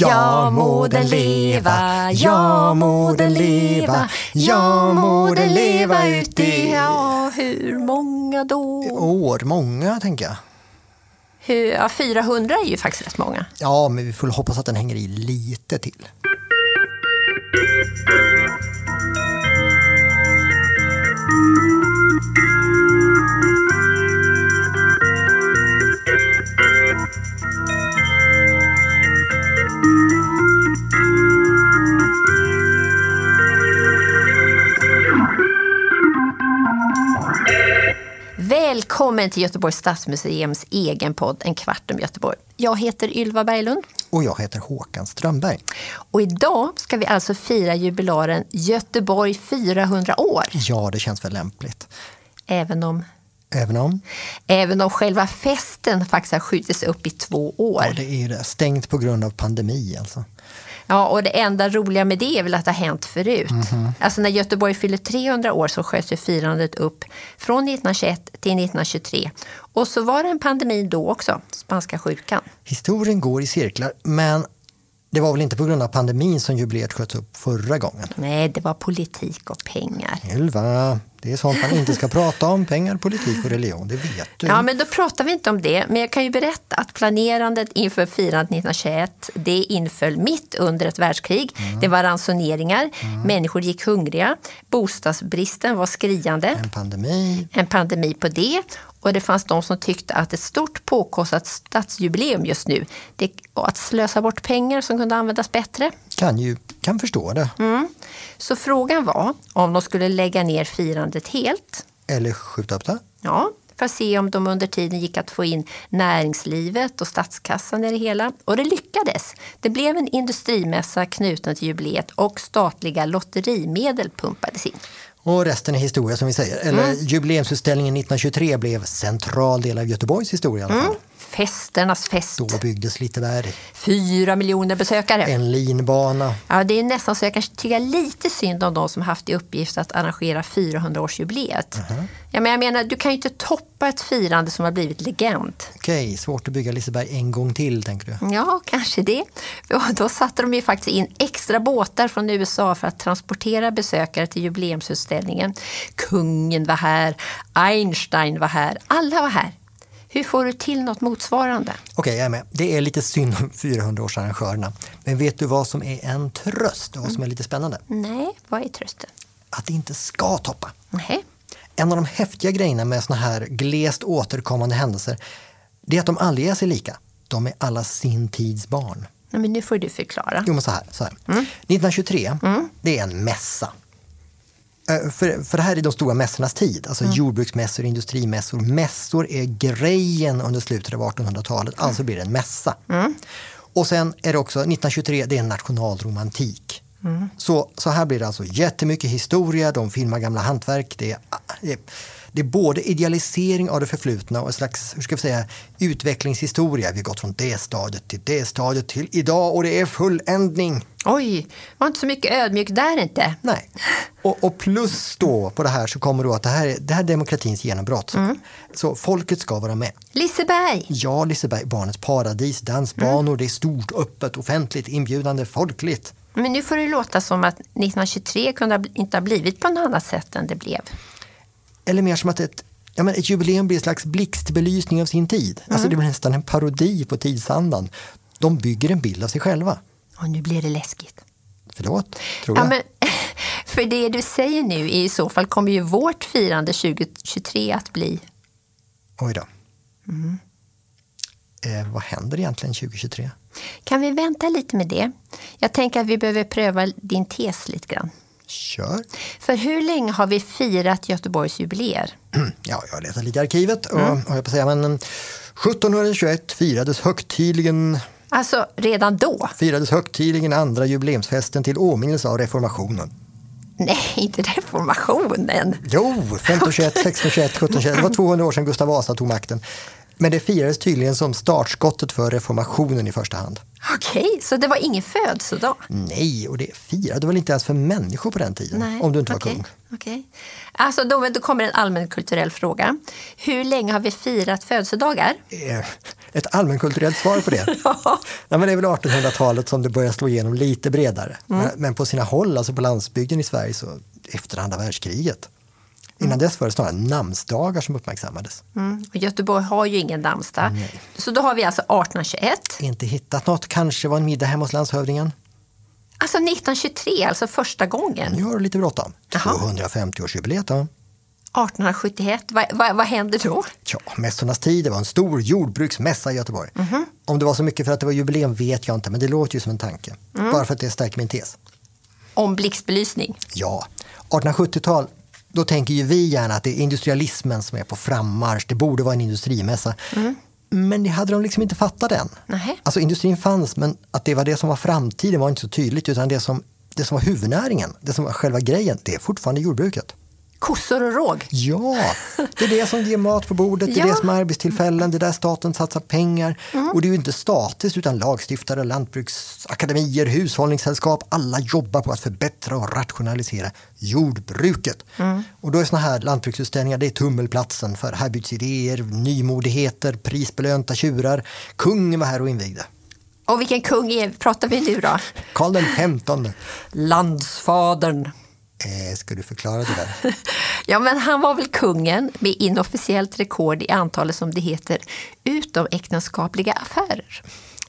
Ja må den leva, ja må den leva, ja må den leva ut i... Ja, hur många då? År, många tänker jag. Hur, ja, 400 är ju faktiskt rätt många. Ja, men vi får hoppas att den hänger i lite till. Välkommen till Göteborgs stadsmuseums egen podd En kvart om Göteborg. Jag heter Ylva Berglund Och jag heter Håkan Strömberg. och idag ska vi alltså fira jubilaren Göteborg 400 år. Ja, det känns väl lämpligt. Även om, Även om även om själva festen faktiskt har skjutits upp i två ja, år. det är ju det. stängt på grund av pandemi. Alltså. Ja, och det enda roliga med det är väl att det har hänt förut. Alltså när Göteborg fyller 300 år så sköts ju firandet upp från 1921 till 1923. Och så var det en pandemi då också, spanska sjukan. Historien går i cirklar, men det var väl inte på grund av pandemin som jubileet sköts upp förra gången? Nej, det var politik och pengar. Ylva, det är sånt man inte ska prata om. Pengar, politik och religion, det vet du. Ja, men då pratar vi inte om det. Men jag kan ju berätta att planerandet inför firandet 1921, det inföll mitt under ett världskrig. Det var ransoneringar, människor gick hungriga, bostadsbristen var skriande, En pandemi, en pandemi på det och det fanns de som tyckte att ett stort påkostat stadsjubileum just nu, det, och att slösa bort pengar som kunde användas bättre, kan ju kan förstå det. så frågan var om de skulle lägga ner firandet helt Eller skjuta upp det. Ja, för att se om de under tiden gick att få in näringslivet och statskassan i det hela. Och det lyckades. Det blev en industrimässa knuten till jubileet och statliga lotterimedel pumpades in. Och resten är historia som vi säger. Eller jubileumsutställningen 1923 blev central del av Göteborgs historia i alla fall. Festernas fest. Då byggdes Litteberg, Fyra miljoner besökare. en linbana. Ja, det är nästan så jag kanske tycker lite synd om de som haft i uppgift att arrangera 400-årsjubileet. Ja, men jag menar, du kan ju inte toppa ett firande som har blivit legend. Okej, svårt att bygga Liseberg en gång till tänker du. Ja, kanske det. Och då satte de ju faktiskt in extra båtar från USA för att transportera besökare till jubileumsutställningen. Kungen var här, Einstein var här, alla var här. Hur får du till något motsvarande? Okej, jag är med. Det är lite synd om 400-årsarrangörerna. Men vet du vad som är en tröst och vad som är lite spännande? Nej, vad är trösten? Att det inte ska toppa. Nej. En av de häftiga grejerna med såna här glest återkommande händelser det är att de aldrig är sig lika. De är alla sin tids barn. Nej, men nu får du förklara. Jo, men så här. Så här. 1923, det är en mässa. Eh, För, för det här är de stora mässornas tid, alltså jordbruksmässor, industrimässor. Mässor är grejen under slutet av 1800-talet, alltså blir det en mässa. Och sen är det också, 1923, det är en nationalromantik. Så, så här blir det alltså jättemycket historia, de filmar gamla hantverk. Det är, det är, det är både idealisering av det förflutna och en slags hur ska vi säga, utvecklingshistoria. Vi har gått från det stadiet till det stadiet till idag och det är fulländning. Oj, var inte så mycket ödmjuk där inte. Nej. Och, och plus då på det här så kommer då att det här är, det här är demokratins genombrott. Mm. Så folket ska vara med. Liseberg! Ja, Liseberg, barnets paradis, dansbanor, Mm. det är stort, öppet, offentligt, inbjudande, folkligt. Men nu får det låta som att 1923 kunde ha bl- inte ha blivit på något annat sätt än det blev. Eller mer som att ett, ja, men ett jubileum blir en slags blixtbelysning av sin tid. Alltså Mm. det blir nästan en parodi på tidsandan. De bygger en bild av sig själva. Och nu blir det läskigt. Förlåt, tror Ja, jag. men, för det du säger nu, är i så fall kommer ju vårt firande 2023 att bli... Oj då. Mm. Eh, vad händer egentligen 2023? Kan vi vänta lite med det? Jag tänker att vi behöver pröva din tes lite grann. Kör. För hur länge har vi firat Göteborgs jubileer? Ja, jag letar lite i arkivet. Och, och jag får säga, men, 1721 firades högtidligen, Alltså, redan då? firades högtidligen andra jubileumsfesten till åminnelse av reformationen. Nej, inte reformationen. Jo, 1521, 1621, 1721. Det var 200 år sedan Gustav Vasa tog makten. Men det firades tydligen som startskottet för reformationen i första hand. Okej, så det var ingen födelsedag? Nej, och det firade väl inte ens för människor på den tiden? Om du inte var okej, kung. okej. Alltså, då, då kommer en allmänkulturell fråga. Hur länge har vi firat födelsedagar? Eh, ett allmänkulturellt svar på det. Ja. Nej, men det är väl 1800-talet som det börjar slå igenom lite bredare. Mm. Men, men på sina håll, alltså på landsbygden i Sverige, så efter andra världskriget. Innan dess var det snarare namnsdagar som uppmärksammades. Mm. Och Göteborg har ju ingen namnsdag. Så då har vi alltså 1821. Inte hittat något, kanske var en middag hemma hos landshövdingen. Alltså 1923, alltså första gången. Nu har du lite bråttom. Jaha. 250-årsjubileet då. 1871, vad, vad, vad händer då? Tja, mässornas tid, det var en stor jordbruksmässa i Göteborg. Mhm. Om det var så mycket för att det var jubileum vet jag inte, men det låter ju som en tanke. Mm. Bara för att det stärker min tes. Om blixtbelysning. Ja, 1870-tal, då tänker ju vi gärna att det är industrialismen som är på frammarsch. Det borde vara en industrimässa. Men det hade de liksom inte fattat än. Nähä. Alltså industrin fanns, men att det var det som var framtiden var inte så tydligt. Utan det som, det som var huvudnäringen, det som var själva grejen, det är fortfarande jordbruket. Kossor och råg. Ja, det är det som ger mat på bordet, det är Ja. det som är arbetstillfällen, det är där staten satsar pengar. Och det är ju inte statiskt utan lagstiftare, lantbruksakademier, hushållningssällskap, alla jobbar på att förbättra och rationalisera jordbruket. Och då är såna här lantbruksutställningar det är tummelplatsen för här byts idéer, nymodigheter, prisbelönta tjurar. Kungen var här och invigde. Och vilken kung är, pratar vi nu då? Karl den femtonde. Landsfadern. Eh, ska du förklara det där? Ja, men han var väl kungen med inofficiellt rekord i antalet, som det heter, utomäktenskapliga affärer.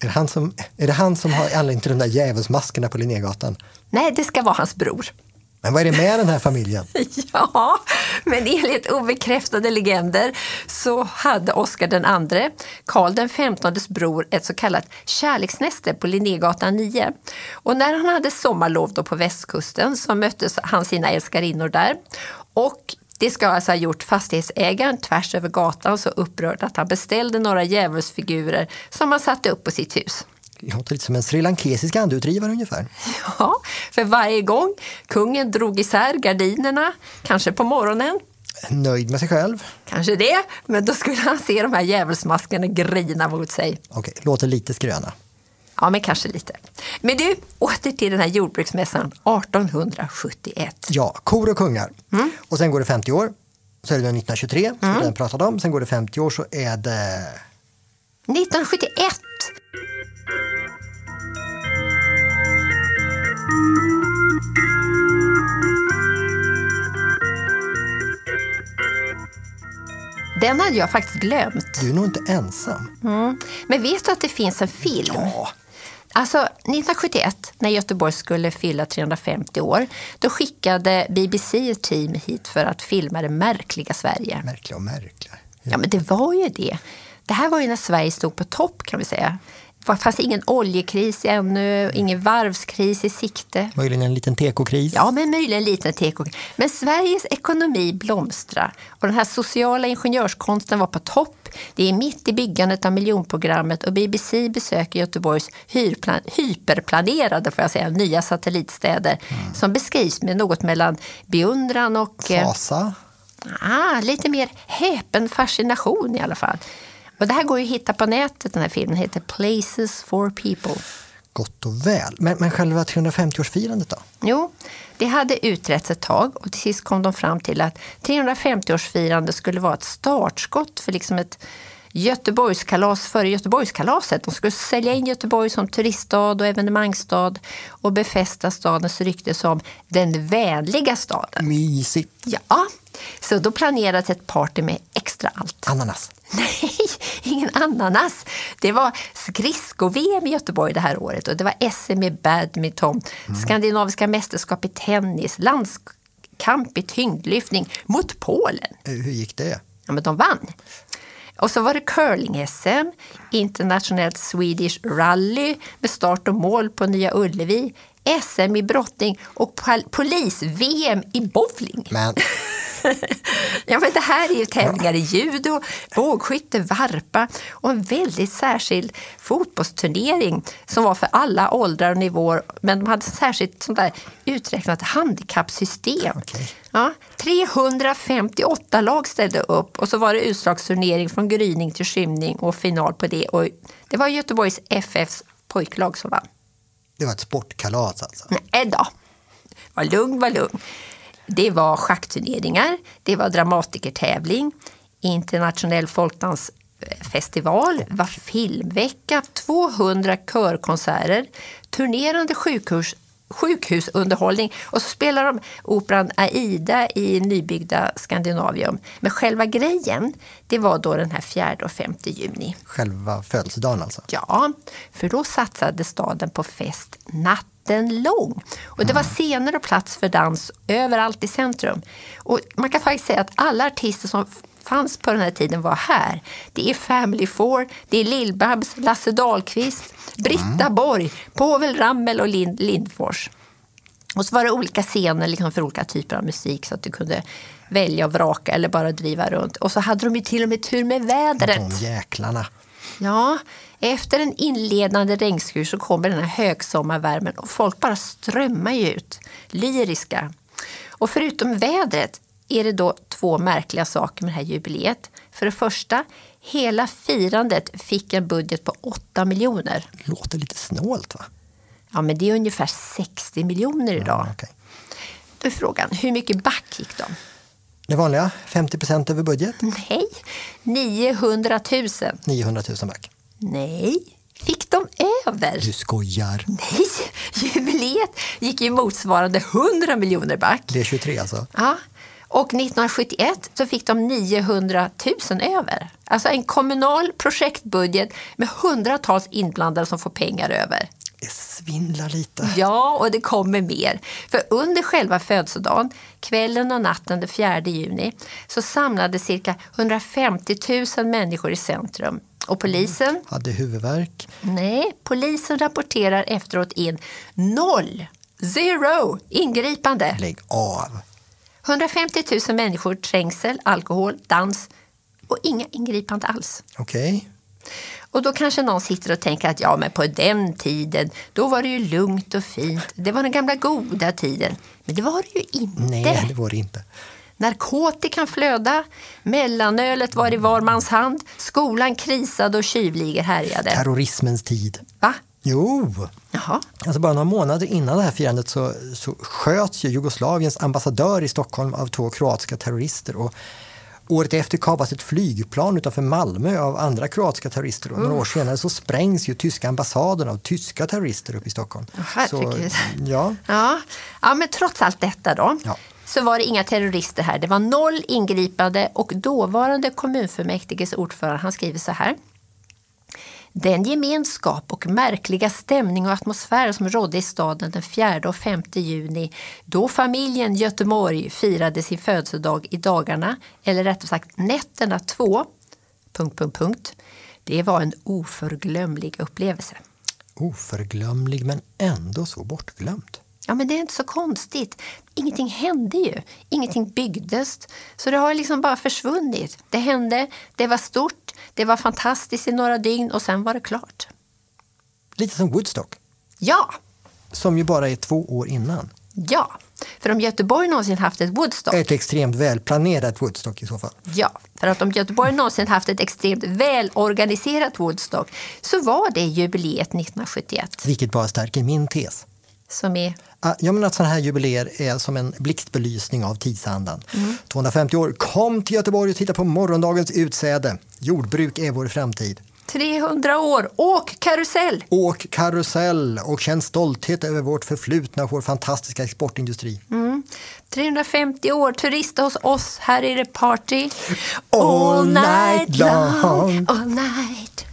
Är det han som, är det han som har anledning till de där djävulsmaskerna på Linnégatan? Nej, det ska vara hans bror. Men vad är det med den här familjen? Ja, men enligt obekräftade legender så hade Oscar den andre, Karl den femtondes bror, ett så kallat kärleksnäste på Linnégatan 9. Och när han hade sommarlov då på västkusten så mötte han sina älskarinnor där. Och det ska alltså ha gjort fastighetsägaren tvärs över gatan så upprörd att han beställde några djävulsfigurer som han satte upp på sitt hus. Låter lite som en srilankesisk andeutdrivare ungefär. Ja, för varje gång kungen drog isär gardinerna, kanske på morgonen, Nöjd med sig själv. Kanske det, men då skulle han se de här djävulsmaskerna grina mot sig. Okej, låter lite skröna. Ja, men kanske lite. Men du, åter till den här jordbruksmässan 1871. Ja, kor och kungar. Mm. Och sen går det 50 år. Så är det den 1923, som vi redan pratade om. Sen går det 50 år så är det... 1971! Den hade jag faktiskt glömt. Du är nog inte ensam. Mm. Men vet du att det finns en film? Ja, Alltså 1971, när Göteborg skulle fylla 350 år, då skickade BBC ett team hit för att filma det märkliga Sverige. märkliga och märkliga. Ja, men det var ju det. Det här var ju när Sverige stod på topp, kan vi säga. Det fanns ingen oljekris ännu, ingen varvskris i sikte. Möjligen en liten tekokris. Ja, men möjligen liten teko. Men Sveriges ekonomi blomstrar och den här sociala ingenjörskonsten var på topp. Det är mitt i byggandet av miljonprogrammet och BBC besöker Göteborgs hyrplan- hyperplanerade får jag säga, nya satellitstäder som beskrivs med något mellan beundran och eh, Fasa. ah, lite mer häpen fascination i alla fall. Och det här går ju att hitta på nätet, den här filmen heter Places for people. Gott och väl. Men, men själva 350-årsfirandet då? Jo, det hade utretts ett tag och till sist kom de fram till att 350-årsfirande skulle vara ett startskott för liksom ett Göteborgskalas före Göteborgskalaset. De skulle sälja in Göteborg som turiststad och evenemangsstad och befästa stadens rykte som den vänliga staden. Mysigt. Ja, så då planerades ett party med extra allt. Ananas. Nej, ingen ananas. Det var skridsko-VM i Göteborg det här året och det var SM i badminton, skandinaviska mästerskap i tennis, landskamp i tyngdlyftning mot Polen. Eh, Hur gick det? Ja, men de vann. Och så var det curling-SM, internationellt Swedish rally med start och mål på Nya Ullevi, SM i brottning och pal- polis-VM i bowling. Men Ja, men det här är ju tävlingar i judo, bågskytte, varpa och en väldigt särskild fotbollsturnering som var för alla åldrar och nivåer. Men de hade särskilt sånt där uträknat handikappsystem. Okej. Ja, 358 lag ställde upp och så var det utslagsturnering från gryning till skymning och final på det. Och det var Göteborgs FFs pojklag som vann. det var ett sportkalas alltså. Nej eh, då. Var lugn, var lugn. Det var schackturneringar, det var dramatikertävling, internationell folkdans festival, var filmvecka, 200 körkonserter, turnerande sjukhus, sjukhusunderhållning och så spelar de operan Aida i nybyggda Skandinavium. Men själva grejen, det var då den här 4 och 5 juni. Själva födelsedagen alltså? Ja, för då satsade staden på fest natten lång. Och det var scener och plats för dans överallt i centrum. Och man kan faktiskt säga att alla artister som fanns på den här tiden var här. Det är Family Four, det är Lill-Babs, Lasse Dahlqvist, Britta Borg, Povel Ramel och Lind Lindfors. Och så var det olika scener liksom för olika typer av musik så att du kunde välja och vraka eller bara driva runt. Och så hade de ju till och med tur med vädret. De jäklarna. Ja, efter en inledande regnskur så kommer den här högsommarvärmen och folk bara strömmar ju ut, lyriska. Och förutom vädret är det då två märkliga saker med det här jubileet. För det första, hela firandet fick en budget på 8 miljoner. Låter lite snålt va? Ja, men det är ungefär 60 miljoner idag. okej. Då är frågan, hur mycket back gick de? Det vanliga, 50 procent över budget, Nej, 900 000. 900 000 back. Nej, fick de över? Du skojar. Nej, jubileet gick ju motsvarande 100 miljoner back. Det är 23 alltså? Ja. Och 1971 så fick de 900 000 över. Alltså en kommunal projektbudget med hundratals inblandade som får pengar över. Det svindlar lite. Ja, och det kommer mer. För under själva födelsedagen, kvällen och natten den 4 juni, så samlade cirka 150 000 människor i centrum. Och polisen, Hade huvudvärk. Nej, polisen rapporterar efteråt in noll, zero, ingripande. Lägg av. 150 000 människor, trängsel, alkohol, dans och inga ingripande alls. Okej. Och då kanske någon sitter och tänker att ja, men på den tiden, då var det ju lugnt och fint. Det var den gamla goda tiden. Men det var det ju inte. Nej, det var det inte. Narkotikan flöda, mellanölet var i var mans hand, skolan krisade och tjuvligor härjade. Terrorismens tid. Va? Jo! Jaha. Alltså bara några månader innan det här firandet så, så sköts ju Jugoslaviens ambassadör i Stockholm av två kroatiska terrorister. Och året efter kapas ett flygplan utanför Malmö av andra kroatiska terrorister. Och några år senare så sprängs ju tyska ambassaden av tyska terrorister uppe i Stockholm. herregud. ja, Ja. ja, men trots allt detta då. Ja. så var det inga terrorister här. Det var noll ingripande och dåvarande kommunfullmäktiges ordförande han skriver så här. Den gemenskap och märkliga stämning och atmosfär som rådde i staden den 4 och 5 juni då familjen Göteborg firade sin födelsedag i dagarna, eller rättare sagt nätterna två, punkt, punkt, punkt. Det var en oförglömlig upplevelse. oförglömlig men ändå så bortglömt. Ja, men det är inte så konstigt. Ingenting hände ju. Ingenting byggdes. Så det har liksom bara försvunnit. Det hände, det var stort, det var fantastiskt i några dygn och sen var det klart. Lite som Woodstock, Ja, som ju bara är två år innan. ja. För om Göteborg någonsin haft ett Woodstock, Ett extremt välplanerat Woodstock i så fall. ja. För att om Göteborg någonsin haft ett extremt välorganiserat Woodstock så var det jubileet 1971 Vilket bara stärker min tes. som är Ah, Jag menar att sådana här jubileer är som en blixtbelysning av tidsandan. 250 år, kom till Göteborg och titta på morgondagens utsäde. Jordbruk är vår framtid. 300 år, åk karusell! Åk karusell och känn stolthet över vårt förflutna och vår fantastiska exportindustri. Mm. 350 år, turista hos oss, här är det party. All night long. All night.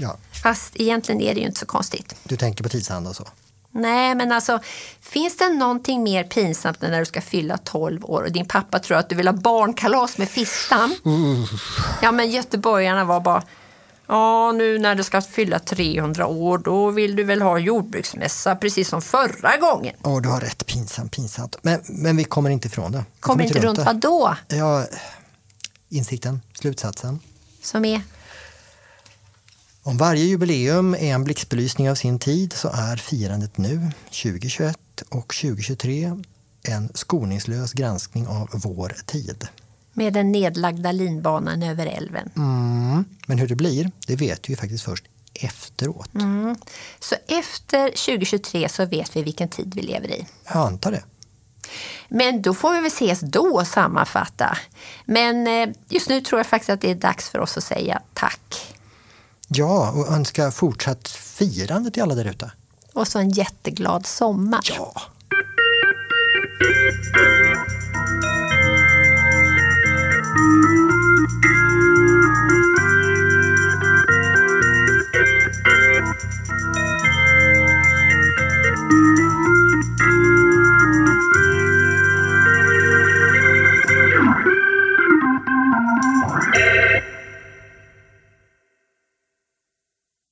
Ja, Fast egentligen är det ju inte så konstigt. du tänker på tidsandan och så. Nej, men alltså, finns det någonting mer pinsamt än när du ska fylla 12 år och din pappa tror att du vill ha barnkalas med fiskdamm? Ja, men göteborgarna var bara, ja, nu när du ska fylla 300 år, då vill du väl ha jordbruksmässa, precis som förra gången. Åh, du har rätt, pinsamt, pinsamt. Men, men vi kommer inte ifrån det. Vi Kommer inte runt vad då? det. Ja, insikten, slutsatsen. Som är, Om varje jubileum är en blixtbelysning av sin tid så är firandet nu, 2021 och 2023, en skoningslös granskning av vår tid. med den nedlagda linbanan över älven. Mm. Men hur det blir, det vet vi ju faktiskt först efteråt. Så efter 2023 så vet vi vilken tid vi lever i. Jag antar det. Men då får vi väl ses då och sammanfatta. Men eh, just nu tror jag faktiskt att det är dags för oss att säga tack. Ja, och önska fortsatt firande till alla där ute. Och så en jätteglad sommar. Ja.